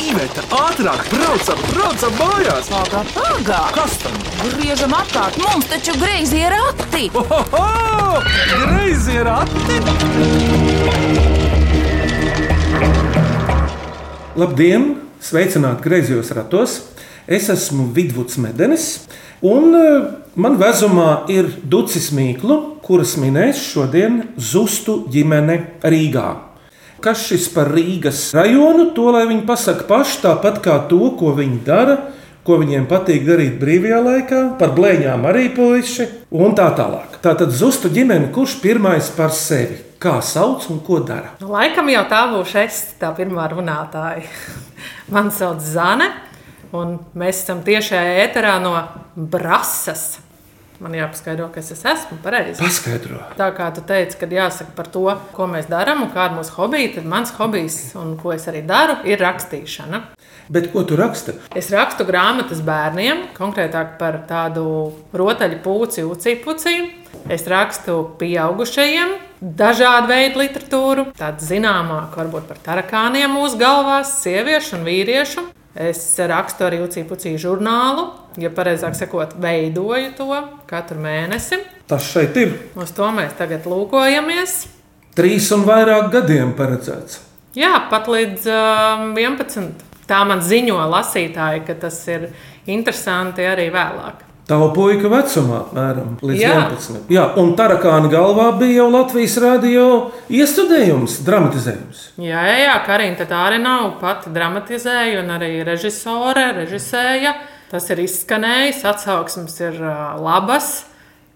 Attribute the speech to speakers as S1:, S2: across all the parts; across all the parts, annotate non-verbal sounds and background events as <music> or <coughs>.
S1: Iveta, ātrāk, braucam, braucam mājās!
S2: Pagā, pagā!
S1: Kas tam?
S2: Griežam apkārt, mums taču greizi ir akti!
S1: Ohoho! Greizi ir ati!
S3: Labdien! Sveicināti griezos ratos! Es esmu Vidvuds Medenis, un eh, man vēzumā ir Ducis Mīklu, kuras minēs šodien Zustu ģimene Rīgā. Kas šis par Rīgas rajonu, to lai viņi pasaka paši, tāpat kā to, ko viņi dara, ko viņiem patīk darīt brīvajā laikā, par blēņām arī puiši un tā tālāk. Tātad Zustu ģimene, kurš pirmais par sevi, kā sauc un ko dara?
S4: Nu, Laikam jau tā būšu es, tā pirmā runātāja. <laughs> Mani sauc Zane, un mēs esam tiešajā ēterā no Brasas. Man jāpaskaidro, kas es esmu pareizi.
S3: Paskaidro!
S4: Tā kā tu teici, kad jāsaka par to, ko mēs darām un kāda ir mūsu hobija, tad mans hobijs un ko es arī daru, ir rakstīšana.
S3: Bet ko tu raksta?
S4: Es rakstu grāmatas bērniem, konkrētāk par tādu rotaļu puci, ucipuci. Es rakstu pieaugušajiem, dažādu veidu literatūru, tādu zināmāku varbūt par tarakāniem mūsu galvās, sieviešu un vīriešu. Es rakstu arī ucipuci žurnālu, ja pareizāk sakot, veidoju to katru mēnesi.
S3: Tas šeit ir
S4: Uz to mēs tagad lūkojamies.
S3: trīs un vairāk gadiem paredzēts.
S4: Jā, pat līdz um, 11. Tā man ziņo lasītāji, ka tas ir interesanti arī vēlāk.
S3: Tava puika vecumā, apmēram līdz
S4: Jā.
S3: 11. Jā, un Tarakāna galvā bija jau Latvijas rādio iestudējums, dramatizējums.
S4: Jā, jā, jā Karina tad arī nav pati dramatizēja un arī režisore, režisēja. Tas ir izskanējis, atsauksmes ir uh, labas.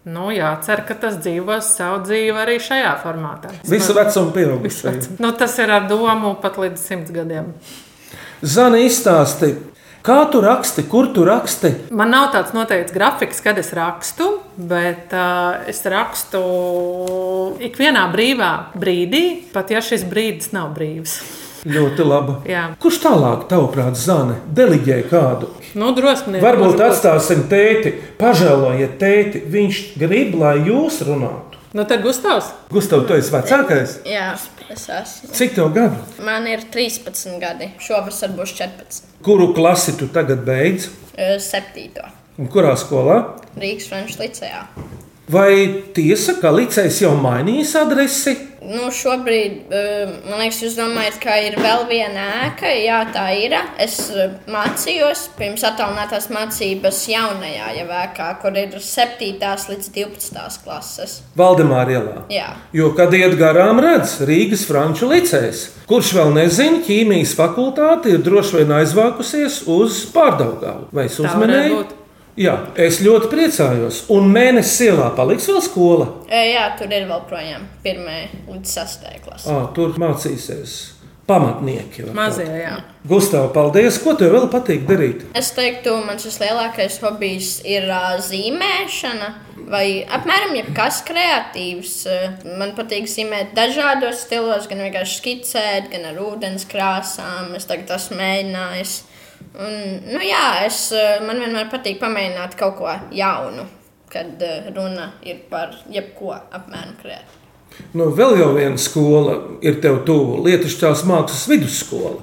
S4: Nu, jācer, ka tas dzīvos savu dzīvi arī šajā formātā.
S3: Visa vecuma pieaugušajiem.
S4: <laughs> Nu, tas ir ar domu pat līdz simts gadiem.
S3: Zana izstāsti, kā tu raksti, kur tu raksti?
S4: Man nav tāds noteikts grafiks, kad es rakstu, bet uh, es rakstu ikvienā brīvā brīdī, pat ja šis brīdis nav brīvs.
S3: Ļoti labi.
S4: Jā.
S3: Kurš tālāk, tavuprāt, Zana, deliģē kādu?
S4: Nu, drosmīgi.
S3: Varbūt atstāsim tēti, pažēlojiet tēti, viņš grib, lai jūs runātu.
S4: Nu, tad Gustavs.
S3: Gustav, tu esi vecākais?
S5: Jā, es esmu.
S3: Cik tev gadu?
S5: Man ir 13 gadi. Šovasar būs 14.
S3: Kuru klasi tu tagad beidz?
S5: Eh, Septīto.
S3: Un kurā skolā?
S5: Rīgas Frančijas licejā.
S3: Vai tiesa, ka licējs jau mainījis adresi?
S5: Nu, šobrīd, eh, man liekas, jūs domājat, ka ir vēl viena ēka. Jā, tā ir. Es eh, mācījos pirms attālinātās mācības jaunajā jau ēkā, kur ir 7. līdz 12. klases.
S3: Valdemāra ielā.
S5: Jā.
S3: Jo, kad iet garām, redz Rīgas franču licējs, kurš vēl nezina, ķīmijas fakultāte ir droši vien aizvākusies uz Pārdaugālu. Vai es
S4: varētu
S3: uzmanēju?
S4: būt.
S3: Jā, es ļoti priecājos. Un mēnesis ielā paliks vēl skola.
S5: Eh, Jā, tur ir vēl projām 1. līdz 6. klasē.
S3: À, tur mācīsies pamatnieki. vai
S4: Mazie,
S3: kaut
S4: jā.
S3: kā. Gustav, paldies! Ko tev vēl patīk darīt?
S5: Es teiktu, mans vislielākais hobijs ir uh, zīmēšana. Vai apmēram jebkas kreatīvs. Ā, Man patīk zīmēt dažādos stilos, gan vienkārši skicēt, gan ar ūdens krāsām. Es tagad esmu mēģinājis. Un, nu, jā, es, ā, man vienmēr patīk pamēģināt kaut ko jaunu, kad ā, runa ir par jebko apmēram kreatīvu.
S3: Nu, vēl jau viena skola ir tev tuvu, Lietušķās mākslas vidusskola.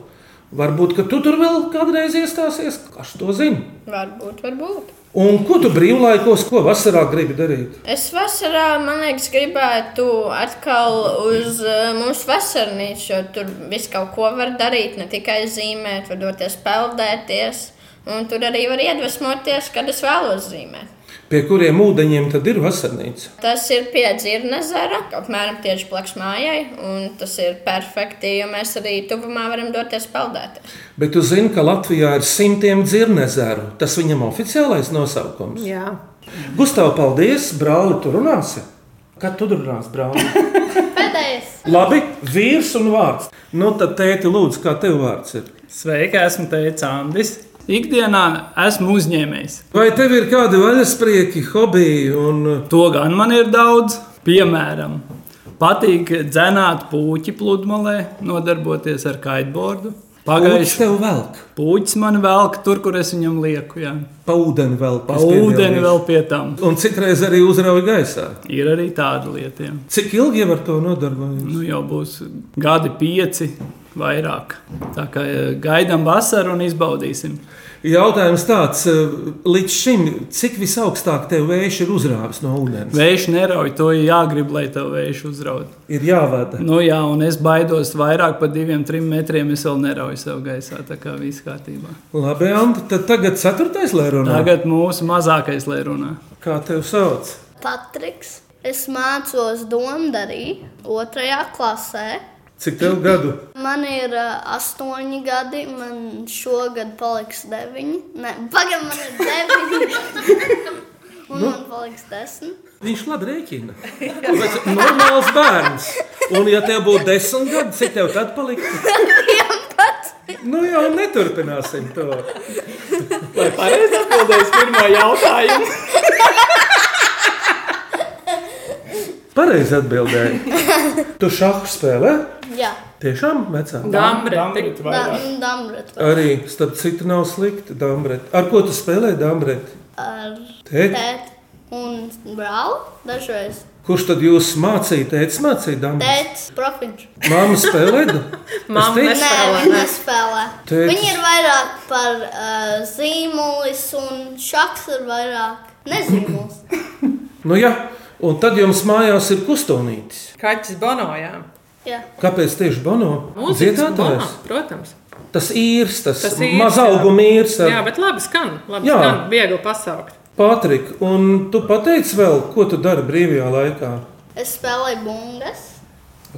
S3: Varbūt, ka tu tur vēl kādreiz iestāsies, kas to zina.
S5: Varbūt, varbūt.
S3: Un ko tu brīvlaikos, ko vasarā gribi darīt?
S5: Es vasarā, man liekas, gribētu atkal uz eh, mūsu vasarnīcu, jo tur viss kaut ko var darīt, ne tikai zīmēt, var doties peldēties. Un tur arī var iedvesmoties, kad es vēlos zīmēt.
S3: Pie kuriem ūdeņiem tad ir vasarnīca?
S5: Tas ir pie dzirna zara, apmēram tieši blakus mājai, un tas ir perfekti, jo mēs arī tuvumā varam doties peldēties.
S3: Bet tu zini, ka Latvijā ir simtiem dzirnezeru. Tas viņam oficiālais nosaukums.
S4: Jā.
S3: Gustav, paldies, brāli, tu runāsi? Kad tu runāsi, brāli?
S5: Pēdējais!
S3: Labi, vīrs un vārds. Nu, tad tēti, lūdzu, kā tev vārds ir?
S6: Sveika, esmu teicis Andris. Ikdienā esmu uzņēmējs.
S3: Vai tev ir kādi vaļasprieki, hobiji un uh,
S6: To gan man ir daudz. Piemēram, patīk dzenāt puķi pludmalē, nodarboties ar kiteboardu.
S3: Pagaidiet,
S6: Pagājušajā
S3: tev velk,
S6: puķis man velk tur, kur es viņam lieku. Jā.
S3: pa ūdeni velk,
S6: Pa
S3: es piebildu.
S6: ūdeni vēl pie tam.
S3: Un citreiz arī uzrauj gaisā.
S6: Ir arī tāda lieta. Jā.
S3: Cik ilgi jau ar to nodarbojas?
S6: Nu, jau būs gadi pieci. vairāk. Tā kā eh, gaidām vasaru un izbaudīsim.
S3: Jautājums tāds, eh, līdz šim, cik visaugstāk tev vējš ir uzrāvis no ūdens?
S6: Vējš nerauj, to ir jāgrib, lai tev vējš uzraud.
S3: Ir jāvada.
S6: Nu, jā, un es baidos vairāk par diviem, trim metriem. Es vēl nerauju sev gaisā, tā kā viss kārtībā.
S3: Labi, Anta, tad tagad ceturtais lērunā.
S6: Tagad mūsu mazākais, lai runā.
S3: Kā tev sauc?
S5: Patriks. Es mācos Dunkarī, otrajā klasē.
S3: Cik tev gadu?
S5: Man ir uh, astoņi gadi, man šogad paliks deviņi. Nē, pagaidām, man ir deviņi. Un man paliks desmit.
S3: Viņš labi <laughs> rēķina. Tas ir normāls bērns. Un, ja tev būtu desmit gadi, cik tev tad paliktu? Nu, jau neturpināsim to.
S6: Vai pareizi atbildēs pirmā jautājuma?
S3: Pareizi atbildēji.
S4: <laughs>
S3: Tu šādu spēlē?
S5: Jā,
S3: Tiešām vecā.
S4: Gambret.
S5: Dunkarī.
S3: Arī starp citu nav slikti, Dāmbrēt. Ar ko tu spēlē, Dāmbrēt?
S5: Ar
S3: Tēt.
S5: tēti un brāli dažreiz.
S3: Kurš tad jūs mācīja? Tēvs mācīja, Dāmbrēt.
S5: Tēti, profils.
S3: Māma spēlē.
S4: <laughs> Mamma
S3: Tētis?
S5: Nē,
S4: Nespēlē,
S5: viņi
S4: ne?
S5: nespēlē.
S3: Tētis.
S5: Viņi ir vairāk par uh, zīmolis un šaks ir vairāk nezīmols.
S3: Nu, jā. Un tad jums mājās ir kustonītis.
S4: Kaķis banojām.
S5: Jā.
S3: Kāpēc tieši Bono? Dziedātājs.
S4: protams.
S3: Tas īrs, tas, tas
S4: Tas īrs,
S3: mazauguma īrs. ar-
S4: Jā, bet labi skan. Labi
S3: Jā.
S4: jā. skan, viegli pasaukt.
S3: Pātrik, un tu pateici vēl, ko tu dari brīvajā laikā?
S5: Es spēlēju bungas.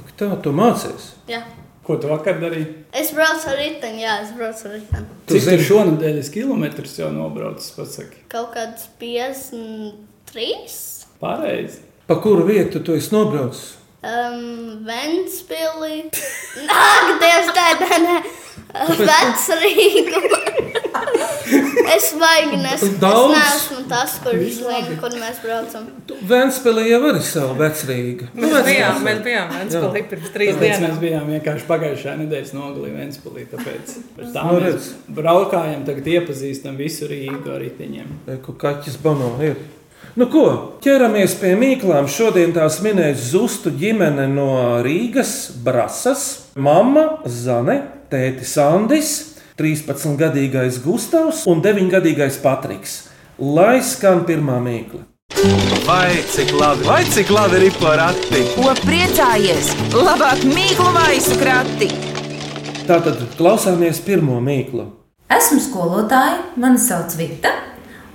S3: Ak, tā, tu mācies.
S5: Jā.
S6: Ko tu vakar darīji?
S5: Es braucu ar riteni, jā, es braucu ar riteni.
S3: Tu
S6: Tu
S3: zini-
S6: zini, šonadēļ es kilometrus jau nobraucu, pasaki.
S5: Kaut kāds 53.
S6: Pareizi.
S3: Pa kuru vietu tu esi nobraucis?
S5: Um, <laughs> Ventspili. Nāk, Dievs, nē, nē, nē. Vecs Rīga. es baigi nesaku.
S3: Daudz.
S5: Es neesmu tas, kurš zina, kur mēs braucam.
S3: Vēnspēlē jau arī savu vecrīgu.
S4: Mēs bijām, mēs bijām Ventspēlī pirms trīs
S6: Tāpēc
S3: <laughs>
S6: mēs
S4: dienām.
S6: bijām vienkārši pagājušā nedēļas nogalī Ventspēlī. Tāpēc Bet tā
S3: Nu,
S6: mēs
S3: redz.
S6: braukājam, tagad iepazīstam visu Rīgu ar riteņiem.
S3: Ko kaķis bano ir? Nu ko, ķeramies pie mīklām. Šodien tās minēs Zustu ģimene no Rīgas, Brasas, Mama, Zane, Tēti Sandis, 13-gadīgais Gustavs un 9-gadīgais Patriks. Lai skan pirmā mīkla.
S1: Vai cik labi, vai cik labi ir porakti?
S7: Ko priecājies? Labāk mīklu maisu krati.
S3: Tātad klausāmies pirmo mīklu.
S8: Esmu skolotāja, mani sauc Vita,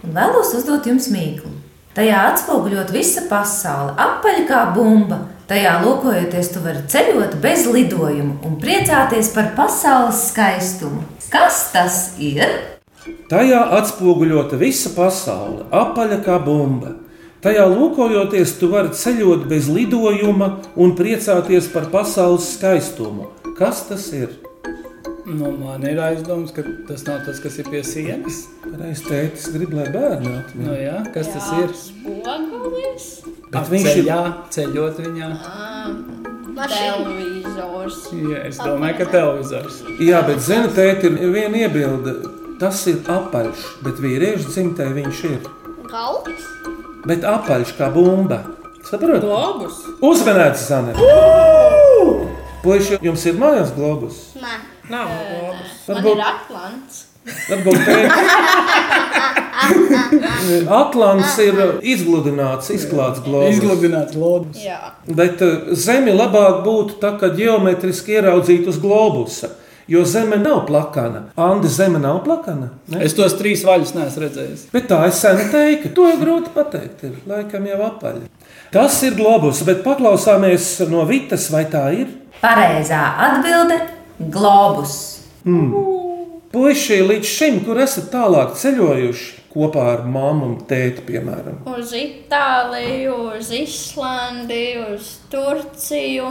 S8: un vēlos uzdot jums mīklu. Tajā atspoguļot visa pasaule, apaļ kā bumba. Tajā lokojoties, tu vari ceļot bez lidojuma un priecāties par pasaules skaistumu. Kas tas ir?
S3: Tajā atspoguļota visa pasaule, apaļa kā bumba. Tajā lūkojoties, tu vari ceļot bez lidojuma un priecāties par pasaules skaistumu. Kas tas ir?
S6: Nu, man ir aizdoms, ka tas nav tas, kas ir pie sienas.
S3: Reiz tētis grib, lai bērni
S6: Nu,
S3: atmiņā.
S6: jā, kas jā. tas ir?
S9: Spogulis,
S3: Bet
S6: Ap
S3: viņš ir-
S6: ceļā, ceļot viņā.
S9: televizors.
S6: Jā, es domāju, ka televizors.
S3: Jā, bet zina, tēti ir viena iebilde. Tas ir apaļš, bet vīriešu dzimtē viņš ir.
S5: Galds?
S3: Bet apaļš kā bumba. Saprotat?
S4: Globus.
S3: Uzmanīts, Zane! Puisši, jums ir mājās globus?
S5: Nē.
S4: Nav globus.
S9: Man ir atlants.
S3: Varbūt tā ir. Atlants ir izgludināts, izklāts globus.
S6: Izgludināts lodus.
S9: Jā.
S3: Bet eh, zemi labāk būtu tā, ka ģeometriski ieraudzītu uz globusa. Jo zeme nav plakana. Andi, zeme nav plakana. Ne?
S6: Es tos trīs vaļus neesmu redzējis.
S3: Bet tā es sen teiku, to ir grūti pateikt. Ir laikam jau apaļ. Tas ir globus, bet paklausāmies no Vitas, vai tā ir.
S8: Pareizā atbilde - globus.
S3: Puisī, līdz šim, kur esat tālāk ceļojuši kopā ar mammu un tēti, piemēram,
S9: Uz Itāliju, uz Islandi, uz Turciju,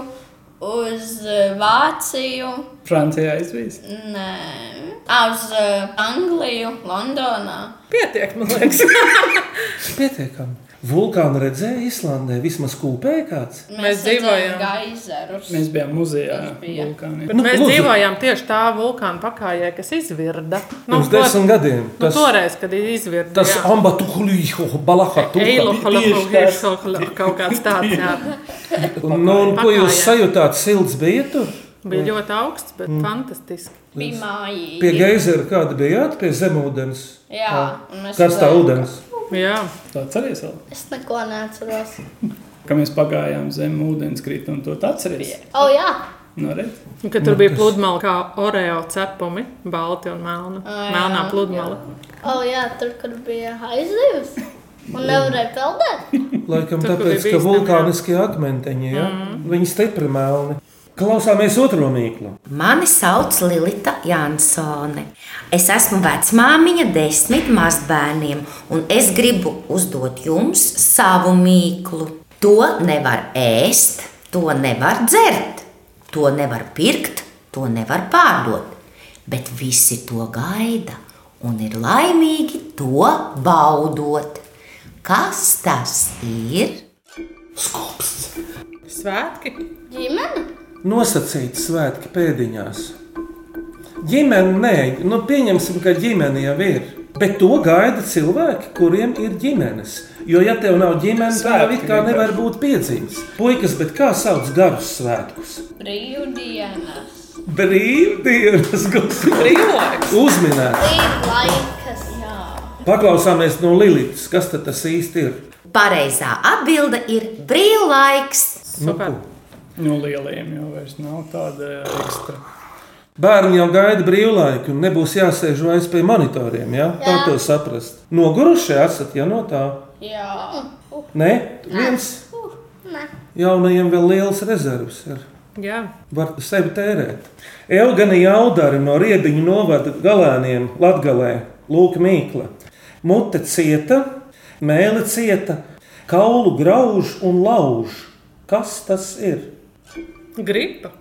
S9: uz
S5: uh,
S9: eh, Vāciju.
S6: Francijā aizvīs.
S9: Nē,
S5: Mm.
S9: ah, uz
S5: uh,
S9: eh, Angliju, Londonā.
S3: <laughs>
S4: Pietiek, man liekas.
S3: Pietiekami. Vulkānu redzēja Islandē, vismaz kūpēja kāds.
S4: Mēs
S9: redzējām
S4: dzīvojam.
S9: Gaizerus.
S6: Mēs bijām muzejā.
S9: bija.
S6: Vulkāniem.
S3: Nu,
S4: Mēs
S3: lūdzu.
S4: dzīvojām tieši tā vulkāna pakājē, kas izvirda.
S3: Pirms
S4: to-
S3: desmit gadiem.
S4: Nu,
S3: Tas,
S4: toreiz, kad izvirda.
S3: tas ambatuļu balaha
S4: Eilu,
S3: turka.
S4: holohu,
S6: Tieši tas.
S4: hiršu, kaut kāds tāds. Jā.
S3: Nu, un ko jūs
S4: Pakājē.
S3: sajūtāt? Silts bija tur?
S4: Bija ļoti augsts, bet mm. fantastiski.
S9: Bija
S3: Pie
S9: mājīgi.
S3: geizera kāda bijāt, pie zemūdens.
S9: Jā, un mēs
S3: Kas tā ūdens?
S4: Jā,
S6: Tā atceries vēl,
S5: Es neko neatceros.
S6: ka mēs pagājām zem ūdenskrita un to tu atceries.
S5: O, oh, jā,
S6: Nu, redz,
S4: Un ka tur bija pludmale, kā oreo cepumi, balti un melni.
S9: Ā, jā,
S4: Melnā pludmale.
S5: o, oh, jā tur, kur bija aizjūs. Un nevarēja peldēt.
S3: Laikam
S4: Tur, kur
S3: tāpēc,
S4: bija Mhm.
S3: ka
S4: bīstami, jā.
S3: vulkāniskie akmeņi, ja? mm. viņi stipri melni. Klausāmies otro mīklu.
S2: Mani sauc Lilita Jansone. Es esmu vecmāmiņa desmit mazbērniem, un es gribu uzdot jums savu mīklu. To nevar ēst, to nevar dzert, to nevar pirkt, to nevar pārdot. Bet visi to gaida un ir laimīgi to baudot. Kas tas ir?
S4: Svētki!
S5: Ģimene?
S3: Nosacīt svētki pēdiņās. Ģimene, nē, nu, pieņemsim, ka ģimene jau ir. Bet to gaida cilvēki, kuriem ir ģimenes. Jo, ja tev nav ģimenes, tad tev it kā nevar būt piedzīves. Puikas, bet kā sauc garus svētkus?
S9: Brīvdienas.
S3: Brīvdienas gudri.
S4: Brīvlaiks!
S3: Uzminēt!
S5: Laikas. Jā.
S3: Paklausāmies no Lilijas, kas tad tas īsti ir.
S2: Pareizā atbilde ir brīvlaiks.
S4: Super!
S6: nu, lieliem jau vairs nav tāda ekstra.
S3: Bērni jau gaida brīvlaiku, un nebūs jāsēž vairs pie monitoriem. Ja? Tā to saprast. Noguruši esat, ja no tā.
S9: Jā.
S3: Nē, viens. Jaunajiem vēl liels rezerves ir.
S4: Jā,
S3: Var sevi tērēt. Eugani Jaudari no riebiņu novada galēniem Latgalē, Lūk, Mīkla. Mute cieta, mēle cieta, kaulu grauž un lauž. Kas tas ir?
S4: gripa!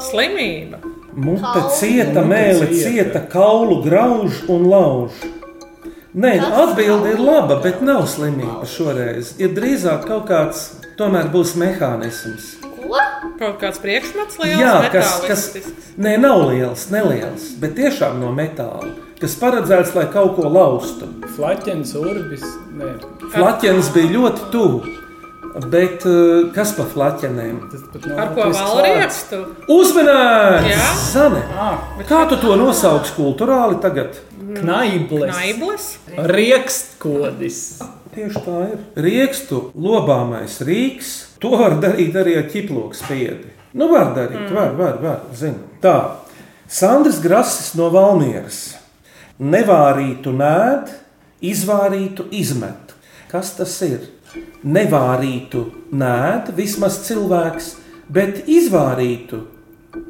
S4: Slimība!
S3: Mute cieta, mēlī cieta, kaulu grauž un lauž. Nē, atbilde ir laba, bet nav slimība šoreiz. Ir drīzāk kaut kāds, tomēr būs mehānisms.
S5: Ko?
S4: Kaut kāds priekšmets liels,
S3: Jā, kas, kas
S4: metālisks.
S3: nē, nav liels, neliels, bet tiešām no metāla, kas paredzēts, lai kaut ko laustu.
S6: Flaķens, urbis, ne,
S3: Flaķens bija ļoti tuvu, bet eh, kas pa flaķenēm?
S6: tas pat nav
S4: Ar ko
S6: latviešu vārds.
S4: valriekstu? Jā.
S3: Uzmanīgs! Zane!
S6: Ā.
S3: Kā tu to nosauks kultūrāli tagad?
S6: Mm. Knaibles.
S4: Naiblis?
S6: Riekskodis.
S3: Tieši tā ir. Riekstu lobāmais rīks, to var darīt arī ar ķiploku spiedi. Nu, var darīt, mm. var, var, var, zinu. Tā, Sandrs Grasis no Valmieras. Nevārītu nēd, izvārītu izmet. Kas tas ir? Nevārītu nēd, vismaz cilvēks, bet izvārītu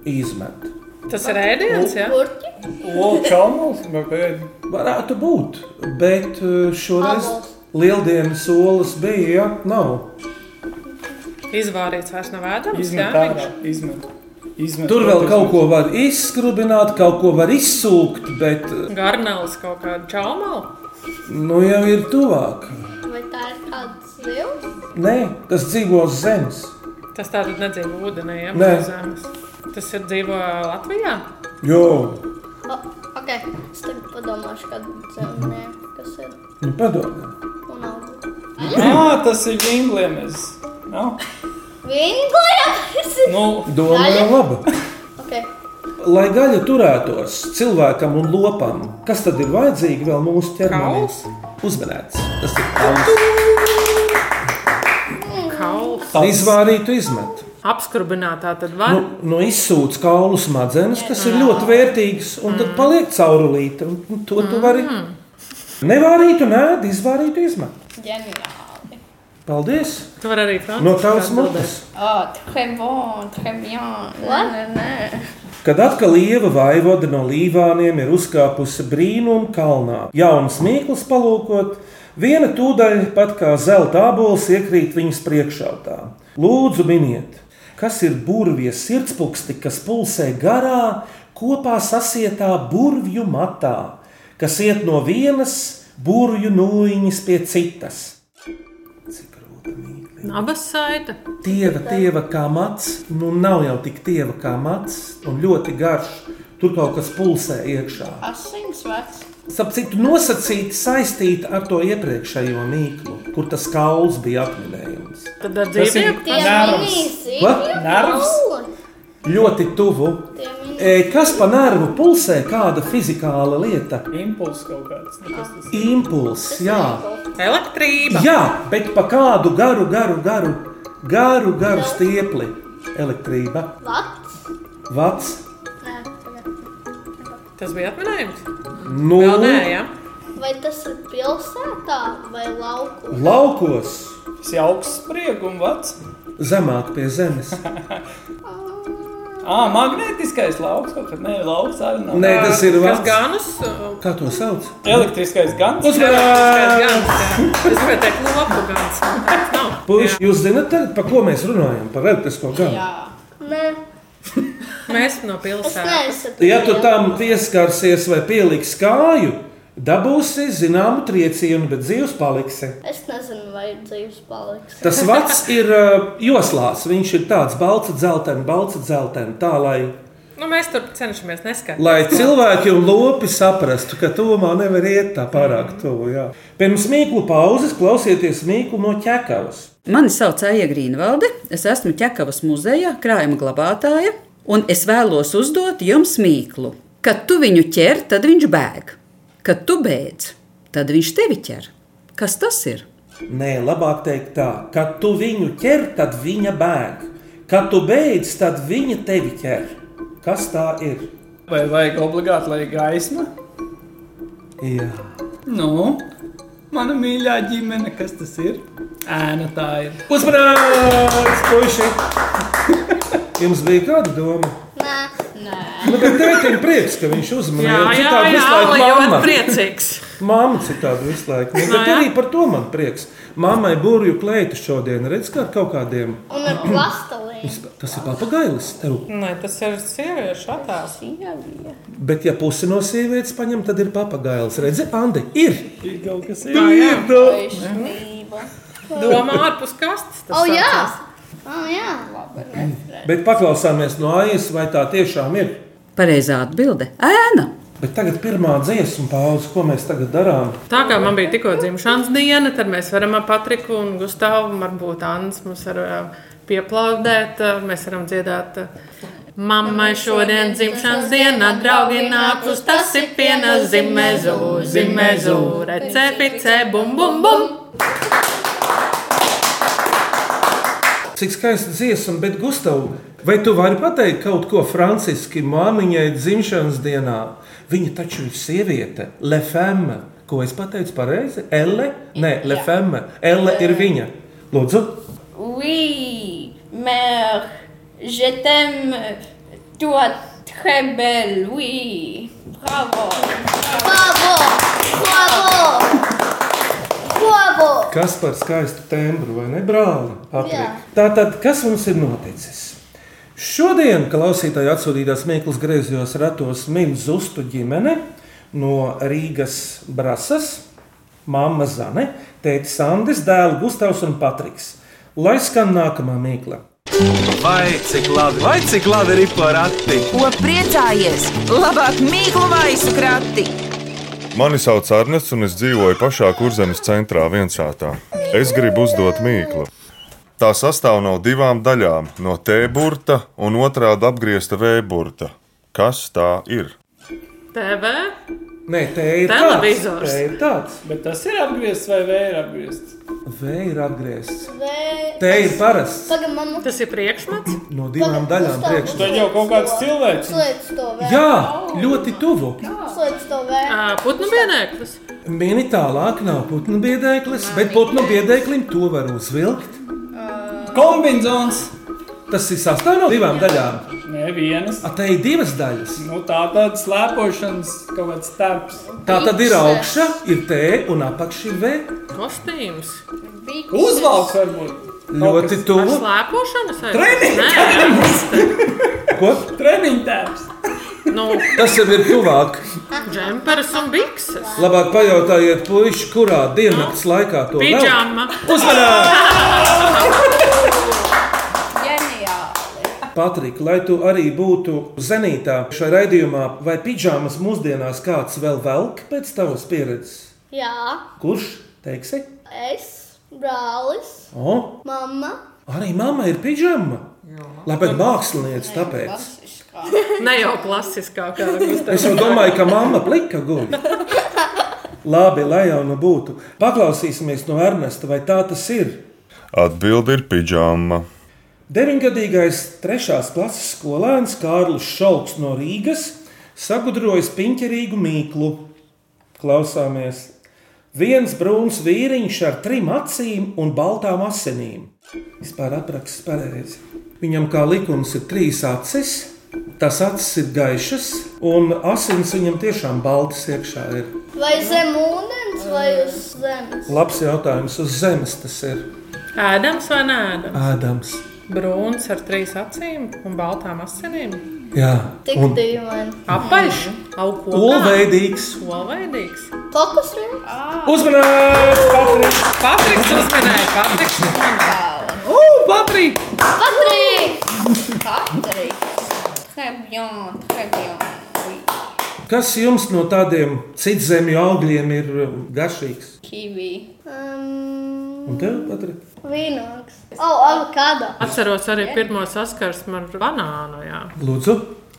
S3: izmet.
S4: Tas ir ēdiens, jā?
S5: Burķi?
S6: Lokāls, vai pēc?
S3: Varētu būt, bet eh, šoreiz
S5: Avols.
S3: lieldienas solis bija, ja nav.
S4: Izvārīts vairs nav ēdams, jā?
S6: Izmet ārā, izmet. izmet.
S3: Tur vēl kaut ko var izskrubināt, kaut ko var izsūkt, bet
S4: Garnēlis kaut kādu čaumalu?
S3: nu jau ir tuvāk.
S5: Vai tā ir kāda zivs?
S3: Nē, tas dzīvo uz zemes.
S4: Tas tā tad nedzīvo ūdenī, ja?
S3: Nē.
S4: bez zemes. Tas ir dzīvo Latvijā?
S3: Jo,
S5: O, ok, es tagad padomāšu, kad zemnieku kas ir.
S3: nu padomā.
S5: Un augu.
S6: Ā, Ah, tas ir vingliemes. No?
S5: Vinglija! kas ir?
S6: Nu,
S3: Doma ir laba.
S5: <laughs> Ok,
S3: Lai gaļa turētos cilvēkam un lopam, kas tad ir vajadzīgi vēl mūsu ķermenim?
S4: Kauls?
S3: Uzmanēts. Tas ir kauls.
S4: Kauls.
S3: Izvārītu izmet.
S4: Apskurbinātā tad
S3: Nu,
S4: var.
S3: nu izsūc kaulu smadzenes, kas ir ļoti vērtīgs, un tad paliek caurulīte. un- un To tu vari nevārītu, nē, izvārītu izmet.
S9: Ģeniāli.
S3: Paldies!
S4: Tu vari arī franciski
S3: No tavas
S4: atbildēt.
S3: mutes.
S9: Oh, très bon, très bien. Nē, nē, nē.
S3: Kad atkal lieva vaivoda no līvāniem ir uzkāpusi brīnuma kalnā, jaunas mīklas palūkot, viena tūdaļ pat kā zelta abolis iekrīt viņas priekšautā. Lūdzu, miniet, kas ir burvijas sirdspūksti, kas pulsē garā, kopā sasietā burvju matā, kas iet no vienas burvju nūjiņas pie citas. Cik grūti mīkli.
S4: Abas saita.
S3: Tieva, tieva kā mats, nu nav jau tik tieva kā mats, un ļoti garš. Tur kaut kas pulsē iekšā.
S9: Asins vats.
S3: Starp citu, nosacīti saistīta ar to iepriekšējo mīklu, kur tas kauls bija apminējams.
S4: Tad ar
S6: tas ir
S4: dzīvnieku
S5: tie
S6: nervs.
S5: minīs
S3: What?
S6: Nervs?
S5: zivs.
S3: ļoti tuvu. E, Kas pa nervu pulsē, kāda fizikāla lieta?
S6: Impulss kaut kāds. nu, kas tas ir?
S3: Impulss, jā.
S4: Elektrība.
S3: jā, bet pa kādu garu, garu, garu, garu, garu stiepli elektrība.
S5: Vats?
S3: Vats,
S5: Nē, pagaid.
S4: Tas bija atminējums.
S3: nu,
S4: Vēl nē, jā.
S5: Vai tas ir pilsētā vai laukos?
S3: laukos,
S6: Tas ir augsts spriegums, vats.
S3: zemāk pie zemes.
S6: Ah, magnētiskais lauks kaut kad. Nē, lauks arī nav. Ah,
S3: Nē, tas ir
S4: Kas
S3: vats.
S4: ganus? uh,
S3: Kā to sauc?
S6: Elektriskais gan.
S4: Kas
S3: Uzvarā!
S4: ganus? jā. Es gribēju teikt, nu, labu ganus. Tas nav.
S3: Puiši, jūs zināt, tad, par ko mēs runājam? Par elektrisko gāzi.
S5: Nē,
S4: Mēs no
S5: es
S4: pilsētas.
S5: neesmu.
S3: Ja tu tam pieskarsies vai pieliks kāju, dabūsi zināmu triecienu, bet dzīves paliksi.
S5: Es nezinu, vai dzīves paliks.
S3: Tas vats ir ā, joslās. Viņš ir tāds balts, dzeltens, balts, dzeltens. Tā lai,
S4: Nu, mēs tur cenšamies neskaidrot.
S3: lai cilvēki un lopi saprastu, ka tomā nevar iet tā pārāk tuvu. jā. Pirms mīklu pauzes klausieties mīklu no ķekavas.
S10: Mani sauc Aija Grīnvalde, es esmu Čekavas muzeja krājuma glabātāja, un es vēlos uzdot jums mīklu. Kad tu viņu ķer, tad viņš bēg. Kad tu beidz, tad viņš tevi ķer. Kas tas ir?
S3: Nē, labāk teikt tā, kad tu viņu ķer, tad viņa bēg. Kad tu beidz, tad viņa tevi ķer. Kas tā ir?
S6: Vai vajag obligāti, lai ir gaisma?
S3: Jā,
S6: Nu, mana mīļā ģimene, kas tas ir? Ēna tā ir.
S3: uzmanības, puiši! Jums bija kāda doma?
S5: Nē,
S3: Nu, bet tētim prieks, ka viņš
S4: Jā,
S3: uzmanīja.
S4: jā,
S3: Citādi
S4: jā,
S3: visu
S4: Alli
S3: laiku
S4: jau ir
S3: mamma.
S4: priecīgs.
S3: Māma citādi visu laiku. Nu,
S4: No,
S3: bet
S4: jā.
S3: arī par to man prieks. Māmai burju kleitu šodien redz kā ar kaut kādiem.
S5: un ar plastelīnu.
S3: Tas ir papagailis tev.
S4: Nē, tas ir sieviešu attēls.
S3: Bet ja pusi no sievietes paņem, tad ir papagailis. Redzi, Andi, ir!
S6: Ir kaut kas
S3: Tu
S6: ir.
S3: ir! tā.
S4: Domā ārpus kastes. tas
S5: O, Oh, jā!
S4: saucās.
S5: O, jā!
S3: Bet paklausāmies no AIS, vai tā tiešām ir.
S10: Pareizā atbilde - ēna.
S3: Bet tagad pirmā dziesmu pauze, ko mēs tagad darām.
S4: Tā kā man bija tikko dzimšanas diena, tad mēs varam ar Patriku un Gustavu, varbūt Annas mums var ā, pieplaudēt. ā, Mēs varam dziedāt. ā, Mammai šodien dzimšanas diena, draugi nākus, tas ir pienas zimezu, zimezu, recepte, bum, bum, bum.
S3: Cik skaista dziesma, bet Gustav, vai tu vari pateikt kaut ko franciski māmiņai dzimšanas dienā? Viņa taču ir sieviete, Lefemme. Ko es pateicu pareizi? Elle? Nē, Lefemme. Elle ir viņa. Lūdzu,
S9: Oui, mère, je t'aime, toi très belle, oui. Bravo.
S5: Bravo! Bravo! Bravo!
S3: kas par skaistu tembru vai ne, brāli? Patrik.
S5: Jā.
S3: Tātad, kas mums ir noticis? Šodien klausītāji atsūtītās Mikls griezījos ratos Mīļus Zustu ģimene no Rīgas Brasas, Māma Zane, tēta Sandis, dēls Gustavs un Patriks. Lai skan nākamā mīkla.
S1: Vai cik labi, vai cik labi ir porakti?
S7: Ko priecājies? Labāk mīklu maisu krati!
S11: Mani sauc Arnests, un es dzīvoju pašā kurzemes centrā viensātā. Es gribu uzdot mīklu. Tā sastāv no divām daļām - no T burta un otrādi apgriezta V burta. Kas tā ir?
S4: TV?
S3: Nē, tā ir
S4: Televizors.
S3: Tāds, tā ir tāds.
S6: Bet tas ir apgriezts vai vēl ir apgriezts?
S3: V ir atgriezts.
S5: Vē-
S3: Te ir parasts
S5: Pagaid, man nu-
S4: Tas ir priekšmets.
S3: no divām
S5: Tagad
S3: daļām
S5: Gustav,
S3: priekšā.
S6: Tad jau kaut kāds cilvēks.
S5: slēdz to vēl.
S3: Jā, ļoti tuvu.
S5: Slēdz to vēl.
S4: Ā, Putnu vienēklis.
S3: Mini tālāk nav putnu biedēklis, bet putnu biedēklim to var uzvilkt.
S6: Kombinzons.
S3: Tas ir sastāvs no divām daļām.
S6: Nē, vienas.
S3: A, Te ir divas daļas.
S6: Nu, tā tāda slēpošanas kaut kāds taps.
S3: Tā tad ir augšā, ir T un apakšā ir V.
S4: Kostīms.
S6: Uzvalks varbūt. Kaut
S3: Ļoti
S6: kas-
S4: Ar
S3: tuvu.
S4: slēpošanu? vai-
S6: Treniņš!
S4: Nē,
S3: Ko?
S6: Treniņtēps.
S4: nu,
S3: Tas jau ir tuvāk.
S4: džemperis un bikses.
S3: Labāk pajautājiet, puiši, kurā diennakts laikā to velk.
S4: Pidžama.
S3: Uzmanā!
S9: Ģeniāli.
S3: Patrika, lai tu arī būtu zenītā šajā raidījumā, vai pidžāmas mūsdienās kāds vēl velk pēc tavas pieredzes?
S5: Jā,
S3: Kurš teiksi?
S5: es, brālis,
S3: O,
S5: mamma.
S3: arī mamma ir pidžama. Labi, bet mākslinieci tāpēc.
S4: Ne jau klasiskā, kā Gustavs.
S3: Es jau domāju, ka mamma plika guļ. Labi, lai jau nu būtu. Paklausīsimies no Ernesta, vai tā tas ir.
S11: Atbilde ir pidžāma.
S3: Deviņgadīgais trešās klases skolēns Kārlis Šalks no Rīgas sagudrojas piņķerīgu mīklu. Klausāmies! Viens brūns vīriņš ar trim acīm un baltām asinīm. Vispār apraksts pareizi. Viņam kā likums ir trīs acis, tās acis ir gaišas, un asins viņam tiešām baltas iekšā ir.
S5: Vai zem ūdens, vai uz zemes?
S3: Labs jautājums uz zemes tas ir.
S4: Ēdams vai nē, ēdams?
S3: Ādams.
S4: Brūns ar trīs acīm un baltām asinīm.
S3: Jā,
S5: Tik
S3: un
S5: dīvaini.
S4: Apaļš, augsts,
S3: Olveidīgs.
S4: Olveidīgs.
S5: Fokus rīns?
S3: Uzmanības! Patriks!
S4: Patriks uzmanēja, Patriks. Ū, Patrik!
S9: Patrīk! Patrīk! Trebjom, trebjom.
S3: Kas jums no tādiem citzemju augļiem ir um, garšīgs?
S9: Kiwi.
S5: Um,
S3: Un tev, Patrik?
S5: vīnogs. O, oh, avokado.
S4: Atceros arī pirmo saskarsmi ar banānu. Jā.
S3: Lūdzu,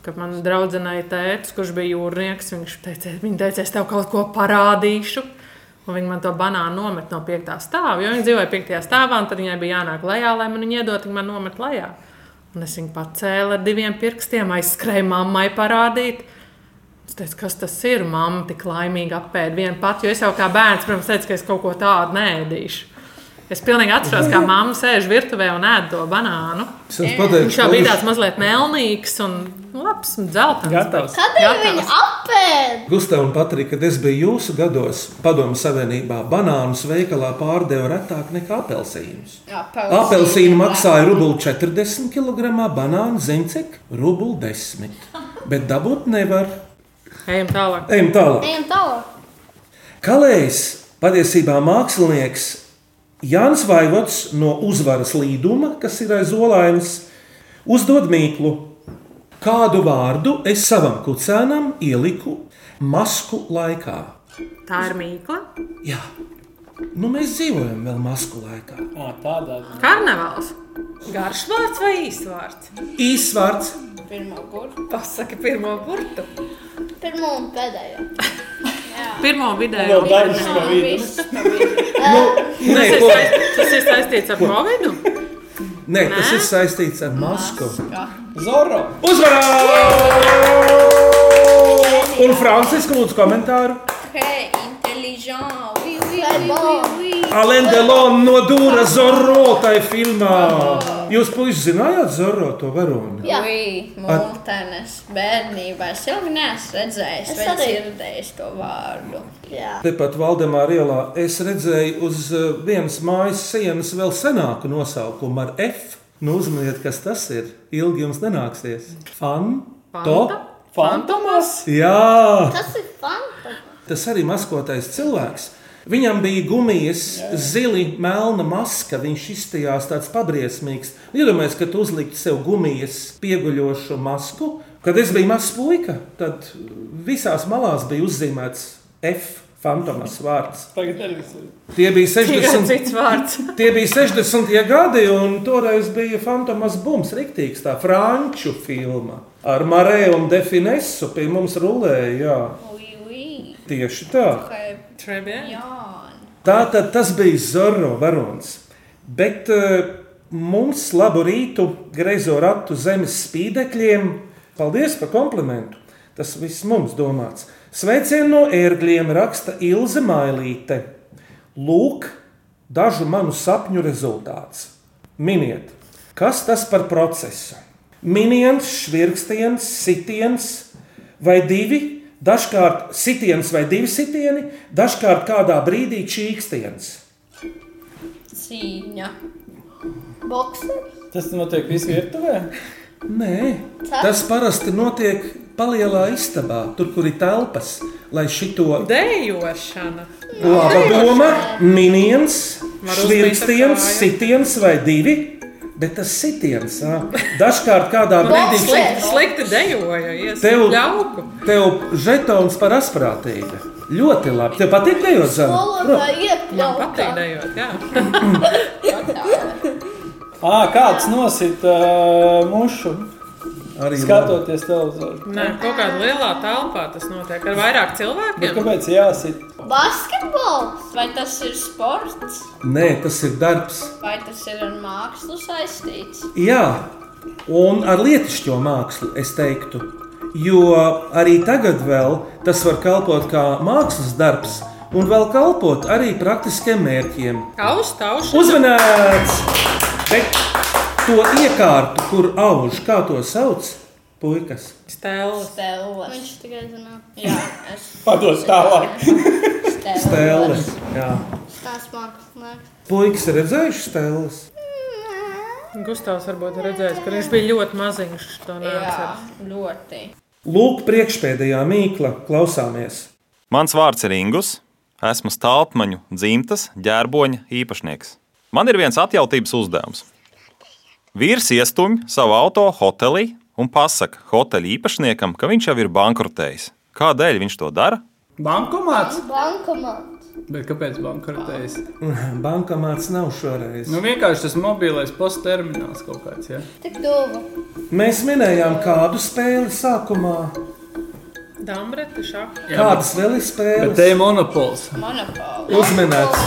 S4: Kad man draudzenei teica, kurš bija jūrnieks, viņš teica, viņa teica, es tev kaut ko parādīšu. Un viņa man to banānu nomet no piektā stāva. Jo viņa dzīvoja piektajā stāvā, un tad viņai bija jānāk lejā, lai man viņa iedod, viņa man nomet lejā. Un es viņu pacēlu ar diviem pirkstiem, aizskrēju mammai parādīt. Es teicu, kas tas ir? Māma tik laimīgi apēda vienu pati, jo es jau kā bērns, protams, teicu, ka es kaut ko tādu nēdīšu. Es pilnīgi atceros, kā mamma sēž virtuvē un ēd to banānu.
S3: Es jums pateikšu,
S4: Viņš jau bija
S3: paldies.
S4: tāds mazliet melnīgs un labs un dzeltens.
S3: Gatavs.
S5: Kad ir viņa apēd?
S3: Gustav un Patrika, kad es biju jūsu gados, padomu savienībā, banānus veikalā pārdeva retāk nekā apelsīnus.
S9: Apelsīni.
S3: Apelsīni maksāja rubli 40 kg, banānu zemcek rubli 10. Bet dabūt nevar.
S4: Ejam tālāk.
S3: Ejam tālāk.
S5: Ejam tālāk.
S3: Kalējs patiesībā mākslinieks Jānis Vaivots no uzvaras līduma, kas ir aiz olainas, uzdod mīklu. Kādu vārdu es savam kucēnam ieliku masku laikā?
S4: Tā ir mīkla.
S3: Jā, nu mēs dzīvojam vēl masku laikā.
S6: Ā, Tādā
S4: Karnevāls. Garš vārds vai īsts vārds?
S3: Īsts vārds.
S9: Pirmā burbuļa.
S4: Pasaki pirmo burtu.
S5: Pirmo un pēdējo.
S4: Pirmo video.
S6: Vēl dažus pa vidu.
S3: Nē,
S4: Tas ir
S3: ko?
S4: saist- tas ir saistīts ar Covid.
S3: Nē, tas ir saistīts ar masku.
S6: Zoro!
S3: Uzvarā! Un Francisku lūdzu komentāru.
S9: Hei, inteliģenti! Oui, oui,
S5: Très
S9: oui,
S5: bon.
S9: oui, oui.
S3: Alain Delon no Dūra Zorro tai filmā. Jūs puiši zinājāt Zorro to varoni?
S5: Jā.
S9: Oui, Multenes bērnībā es jau neesmu redzējis,
S5: Es
S9: vai
S5: arī.
S9: dzirdējis to vārdu.
S5: Jā.
S3: Tepat Valdemāra ielā es redzēju uz uh, vienas mājas sienas vēl senāku nosaukumu ar F. Nu, uzmaniet, kas tas ir. Ilgi jums nenāksies. Fan, to.
S6: Fantomas!
S3: Jā,
S5: Tas ir fantastiski.
S3: tas arī maskotais cilvēks. Viņam bija gumijas, zila, melna maska. Viņš izstājās tāds pabriesmīgs. Iedomājieties, ka tu uzliktu sev gumijas pieguļošu masku. Kad es biju mazs puika, tad visās malās bija uzzīmēts F. Fantomas vārds.
S6: Tagad arī viss ir.
S3: Tie bija
S4: Tikai
S3: 60.
S4: cits vārds.
S3: Tie bija 60. gadi, un toreiz bija Fantomas Bums, rīktīgs tā franču filma. Ar Marēju un Definesu pie mums rulēja. Jā.
S9: Oui, oui.
S3: Tieši tā.
S9: Hei,
S4: Trebien.
S9: Jan.
S3: Tā tad tas bija Zorro varonis. Bet eh, mums labu rītu greizo ratu zemes spīdekļiem. Paldies par komplimentu. Tas viss mums domāts. Sveicienu no ērgļiem raksta Ilze Mailīte. Lūk, dažu manu sapņu rezultāts. Miniet, kas tas par procesu? Miniens, švirkstiens, sitiens vai divi, dažkārt sitiens vai divi sitieni, dažkārt kādā brīdī čīkstiens.
S9: Cīņa.
S5: Boksers.
S6: Tas notiek visu virtuvē.
S3: Nē, tas parasti notiek palielā istabā, tur, kur ir telpas, lai šito
S4: Dejošana.
S3: laba doma, miniens,
S4: Var
S3: švirkstiens,
S4: uzbīt
S3: sitiens vai divi. Bet tas sitiens ā, dažkārt kādā brīdī
S5: Boks.
S4: Slikti, slikti dejoja.
S3: Tev,
S4: Iesim ļauku.
S3: tev žetons par asprātību. Ļoti labi. Tev patīk dejot zemu?
S5: Skolotāji
S4: Man
S5: iekļaut.
S4: patīk dejot, jā.
S6: Ah, kāds nosita uh, mušu?
S3: Arī
S6: skatoties televizoru.
S4: Nē, kaut kādā lielā telpā tas notiek ar vairāk cilvēkiem.
S6: Bet kāpēc jāsit?
S9: Basketbols vai tas ir sports,
S3: Nē, tas ir darbs.
S9: vai tas ir ar mākslu saistīts?
S3: Jā, un ar lietišķo mākslu es teiktu. Jo arī tagad vēl tas var kalpot kā mākslas darbs, un vēl kalpot arī praktiskiem mērķiem.
S4: Kaus, tauš.
S3: Uzmanīts! Bet to iekārtu, kur auž, kā to sauc, puikas.
S4: Stēlis.
S9: Stēlis. Viņš
S5: tikai zina.
S9: Jā, es.
S3: Padod tālāk.
S9: Stēlis.
S3: Stēles. Jā.
S5: Tās mākslinieks.
S3: Puikas ir redzējuši stēles.
S4: Gustavs varbūt ir redzējis, ka viņš bija ļoti maziņš. to
S9: Jā,
S4: neatceras.
S9: ļoti.
S3: Lūk, priekšpēdējā mīkla klausāmies.
S12: Mans vārds ir Ingus. Esmu stāpmaņu dzimtas ģērboņa īpašnieks. Man ir viens atjautības uzdevums. Vīrs iestumj savu auto hotelī un pasaka hoteļa īpašniekam, ka viņš jau ir bankrotējis. Kādēļ viņš to dara?
S6: Bankomāts?
S5: Bankomāts.
S6: Bet kāpēc bankrotējis?
S3: Bankomāts nav šoreiz.
S6: Nu, vienkārši tas mobilais posttermināls kaut kāds. Ja?
S5: Tik tuvu.
S3: Mēs minējām kādu spēli sākumā.
S4: Dambreti, šaka.
S6: Jā,
S3: Kādas
S6: bet-
S3: vēl ir spēles?
S6: Bet te ir monopols.
S9: Monopols.
S3: Uzminēts,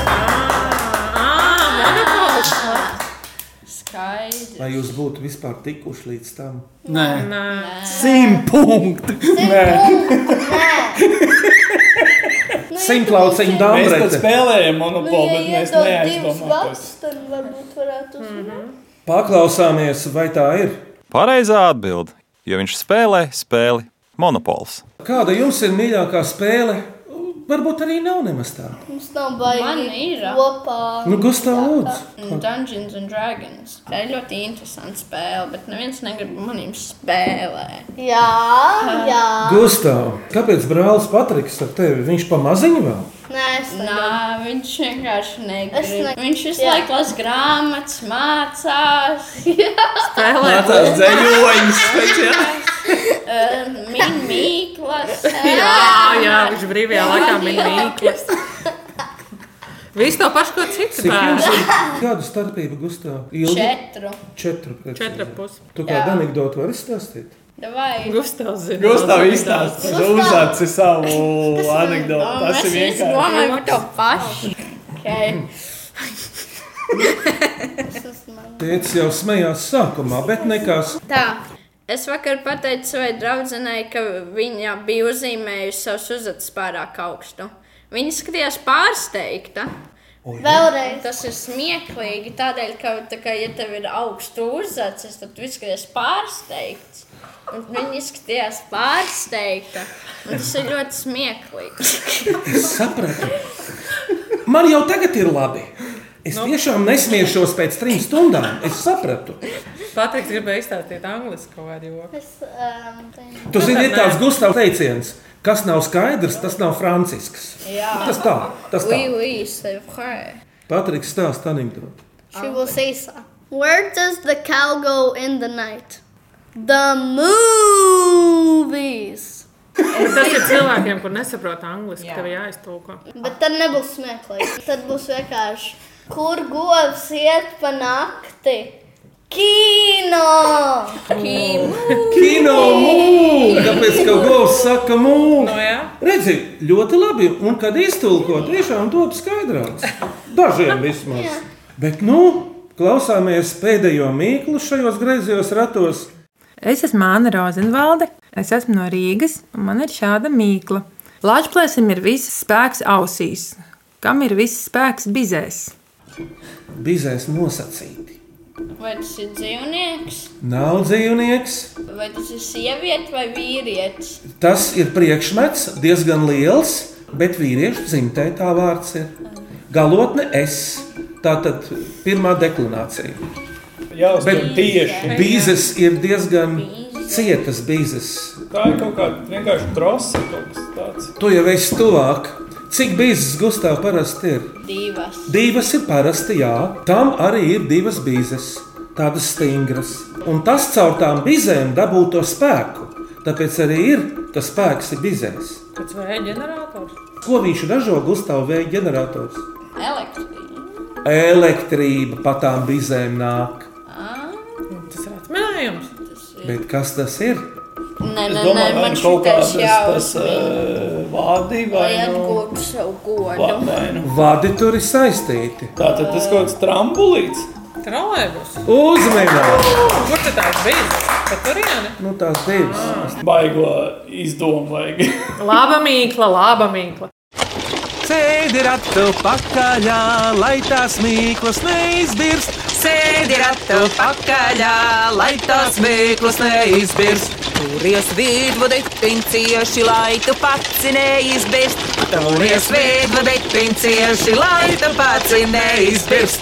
S4: Monopols.
S9: Skaidrs.
S3: vai jūs būtu vispār tikuši līdz tam?
S6: Nē,
S4: Nē.
S3: simt punkti. <laughs> Nē,
S5: Nu,
S3: simt lauciņu
S6: Mēs pat
S3: dāmas.
S6: spēlējam monopolu, bet mēs neaizdomājamies.
S5: tad varbūt varētu
S9: Mhm.
S5: uzmanīt.
S3: Paklausāmies, vai tā ir.
S12: Pareizā atbilde, jo viņš spēlē spēli Monopols.
S3: Kāda jums ir mīļākā spēle? Varbūt arī nav nemaz tā.
S5: Mums nav baigi.
S9: Man ir.
S5: Kopā.
S3: Nu, Gustav, lūdzu.
S9: Mm, Dungeons and Dragons. Tā ir ļoti interesanta spēle, bet neviens negrib manim spēlēt.
S5: Jā, jā.
S3: Gustav, kāpēc brālis Patriks ar tevi? Viņš pamaziņu vēl.
S5: Nē, es
S9: Nā, viņš vienkārši
S5: Mm. Es
S9: negrib.
S5: ne-
S9: Viņš visu
S5: Jā.
S9: laiku lasa grāmatas,
S5: <laughs>
S9: mācās.
S6: Mācās dzējoņus. taču, jā.
S9: um, Min mīklas.
S4: Jā, jā, viņš brīvajā laikā bija mīklas. Viss to pašu, ko cits
S3: Cik jums
S4: bērns.
S3: ir gadu starpība, Gustav?
S9: Četru.
S3: Četru. precīzi.
S4: Četra pus.
S3: Tu
S9: Jā.
S3: kādu anekdotu vari stāstīt?
S6: Nu,
S9: Davai.
S4: Gustavs zina.
S6: Gustav izstāsta
S9: Gustav.
S6: uzāci savu anekdoti.
S9: Un
S6: Tas
S9: mēs
S6: ir
S9: visi
S6: vienkārši.
S9: domājam par to
S5: <laughs>
S9: pašu. Okay.
S3: Tēvs jau smējās sākumā, bet nekas.
S9: Tā. Es vakar pateicu savai draudzenei, ka viņa bija uzzīmējusi savus uzvedus pārāk augstu. Viņa skatījās pārsteigta.
S5: Vēlreiz.
S9: Tas ir smieklīgi, tādēļ, ka, tā kā, ja tev ir augsts uzvedas, tad tu izskaties pārsteigts. Un viņa izskatījās pārsteigta. Un tas ir ļoti smieklīgi.
S3: Es sapratu. Man jau tagad ir labi. Es nu. tiešām nesmiešos pēc trim stundām. Es sapratu.
S4: Patriks gribēja izstāstīt angliski kaut kādu joku.
S5: Es, um, te-
S4: Nu
S3: Tu zini, ir tāds gustavs teiciens, kas nav skaidrs, tas nav francisks.
S9: Jā,
S3: Tas tā, tas tā.
S9: Oui, oui, c'est vrai.
S3: Patriks stāsta anekdoti.
S5: She
S9: Oh.
S5: will say so. Where does the cow go in the night? The movies.
S4: Bet tas ir cilvēkiem, kur nesaprot angliski, tev jāiztūko.
S5: Bet tad nebūs <coughs> smieklīgi. Tad būs vienkārši. Kur govs iet pa nakti? Kino!
S3: Kino mūžs! Tāpēc, ka govs saka mūžs!
S4: Nu, jā.
S3: Redzi, ļoti labi. Un kad iztulko, tiešām top skaidrāks. Dažiem vismaz. Bet nu, klausāmies pēdējo mīklu šajos greizajos ratos.
S13: Es esmu Anna Rozenvalde, es esmu no Rīgas, un man ir šāda mīkla. Lāčplēsim ir viss spēks ausīs, kam ir viss spēks bizēs.
S3: Bizēs nosacīti.
S9: Vai tas ir dzīvnieks,
S3: Nav dzīvnieks,
S9: vai tas ir sieviete vai vīrietis?
S3: tas ir priekšmets, diezgan liels, bet vīriešu dzimtē tā vārds ir. Galotne S. Tā tad pirmā deklinācija.
S6: Jā,
S3: Bet
S6: tieši.
S3: Bīzes ir diezgan cietas bīzes.
S6: Tā ir kaut kāda vienkārši trosa kaut kas tāds.
S3: Tu jau esi tuvāk. Cik bīzes gustā parasti ir?
S9: Divas.
S3: Divas ir parasti, jā. Tam arī ir divas bīzes, tādas stingras. Un tas caur tām bizēm dabūto spēku. Tāpēc arī ir tas spēks, ir bizēs.
S4: Kāds vēja ģenerators?
S3: Ko viņš ražo Gustavs vēja ģenerators?
S9: Elektrība.
S3: Elektrība pa tām bizēm nāk. Bet kas tas ir?
S9: Nē,
S6: Es
S9: nē, nē,
S6: domāju, vai
S9: man
S6: nu kaut kādas
S9: šis
S6: tas
S9: jausmas.
S6: eh, vādi vai
S9: Lai
S6: nu,
S9: atgūtu savu
S6: va-
S9: godu.
S6: vai nu.
S3: Vādi tur ir saistīti.
S6: Tātad tas kaut kāds trampulīts.
S4: Trolēļus.
S3: Uzmanīgi!
S4: Kur tad tāds bija? Pat turieni.
S3: Nu, tās divas.
S6: Baigo izdomu vajag.
S4: Laba mīkla, laba mīkla.
S1: Sēdi ratu pakaļā, lai tās mīklas neizbirst.
S7: Sēdi ratu pakaļā, lai tās mīklas neizbirst. Turies vidvadīt pincieši, lai tu pats neizbirst. Turies vidvadīt pincieši, lai tu pats neizbirst.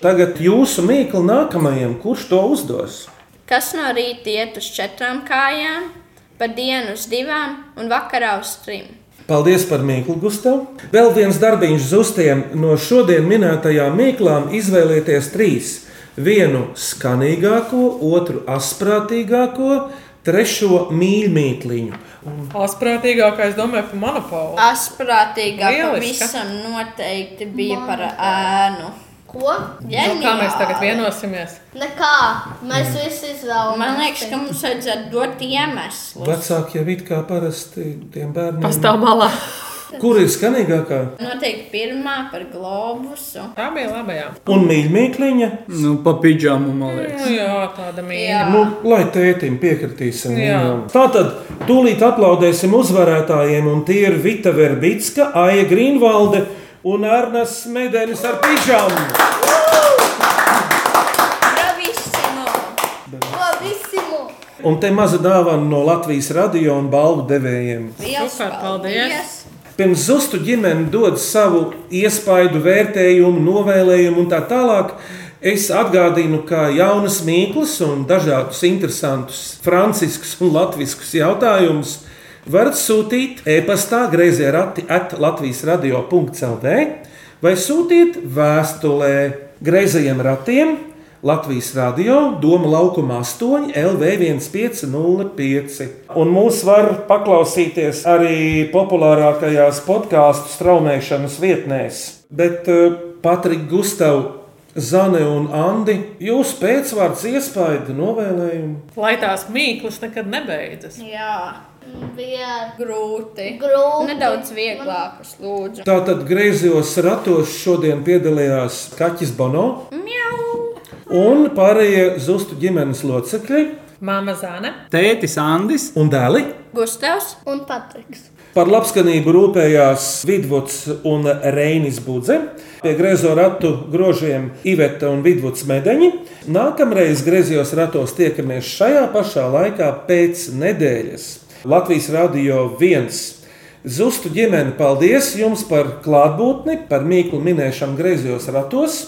S3: Tagad jūsu mīklu nākamajam, kurš to uzdos?
S9: Kas no rīta iet uz četrām kājām, pa dienu uz divām un vakarā uz trim?
S3: Paldies par mīklu, Gustav. Vēl viens darbiņš zustiem no šodien minētajām mīklām izvēlieties trīs. Vienu skanīgāko, otru asprātīgāko, trešo mīļmītliņu.
S4: Asprātīgākais, domāju, par monopolu.
S9: Asprātīgāk
S4: Lieliska.
S9: pavisam noteikti bija par ēnu.
S5: Ko?
S4: Nu, kā mēs tagad vienosimies?
S5: Nekā. Mēs visi izvēlamies.
S9: Mm. Man liekas, ka mums vajadzētu dot iemeslu.
S3: Vecāki jau it kā parasti tiem bērniem
S9: Pastāv
S4: malā.
S3: Kur ir skanīgākā?
S9: Noteikti pirmā par globusu.
S4: Tā bija labajā.
S3: Un mīļmītliņa?
S6: Nu, pa pidžamu, man
S4: Nu, jā, tāda mīļa.
S3: Nu, lai tētim piekritīsim.
S4: Jā.
S3: Tātad, tūlīt aplaudēsim uzvarētājiem, un tie ir Vita Verbicka, Aija Grīnvalde un Arnas Medenis ar pižamu.
S9: Bravissimo!
S5: Bravissimo!
S3: Un te maza dāvana no Latvijas radio un balvu devējiem.
S4: Super, paldies!
S3: Pirms zustu ģimene dod savu iespaidu, vērtējumu, novēlējumu un tā tālāk. Es atgādinu, ka jaunas mīklas un dažādus interesantus franciskus un latviskus jautājumus varat sūtīt e-pastā grazē rati at Latvijas radio. CELV vai sūtiet vēstulē grazējiem ratiem Latvijas radio Doma laukuma 8 LV1505. Un mūs var paklausīties arī populārākajās podkāstu straumēšanas vietnēs. Bet eh, Patrik Gustav, Zane un Andi, jūs pēcvārds iespaida novēlējumu.
S4: Lai tās mīklas nekad nebeidzas.
S9: Jā.
S5: Bija
S9: Grūti.
S5: Grūti.
S9: Nedaudz vieglākas, lūdzu.
S3: Tātad griezījos ratos šodien piedalījās Kaķis Bono un pārējie zustu ģimenes locekļi.
S4: Māma Zāne.
S3: Tētis Andris un dēli.
S9: Gustavs
S5: un Patriks.
S3: Par labskanību rūpējās Vidvuds un Reinis Budze. Pie griezo ratu grožiem Iveta un Vidvuds Medeņi. Nākamreiz griezījos ratos tiekamies šajā pašā laikā pēc nedēļas. Latvijas radio viens. Zustu ģimene, paldies jums par klātbūtni, par mīklu minēšanu griezījos ratos.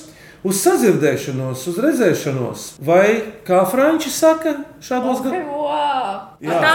S3: Uz sadzirdēšanos, uz redzēšanos, vai kā Frančiska saka, šādos gadījumos.
S9: Wow!
S3: Jā.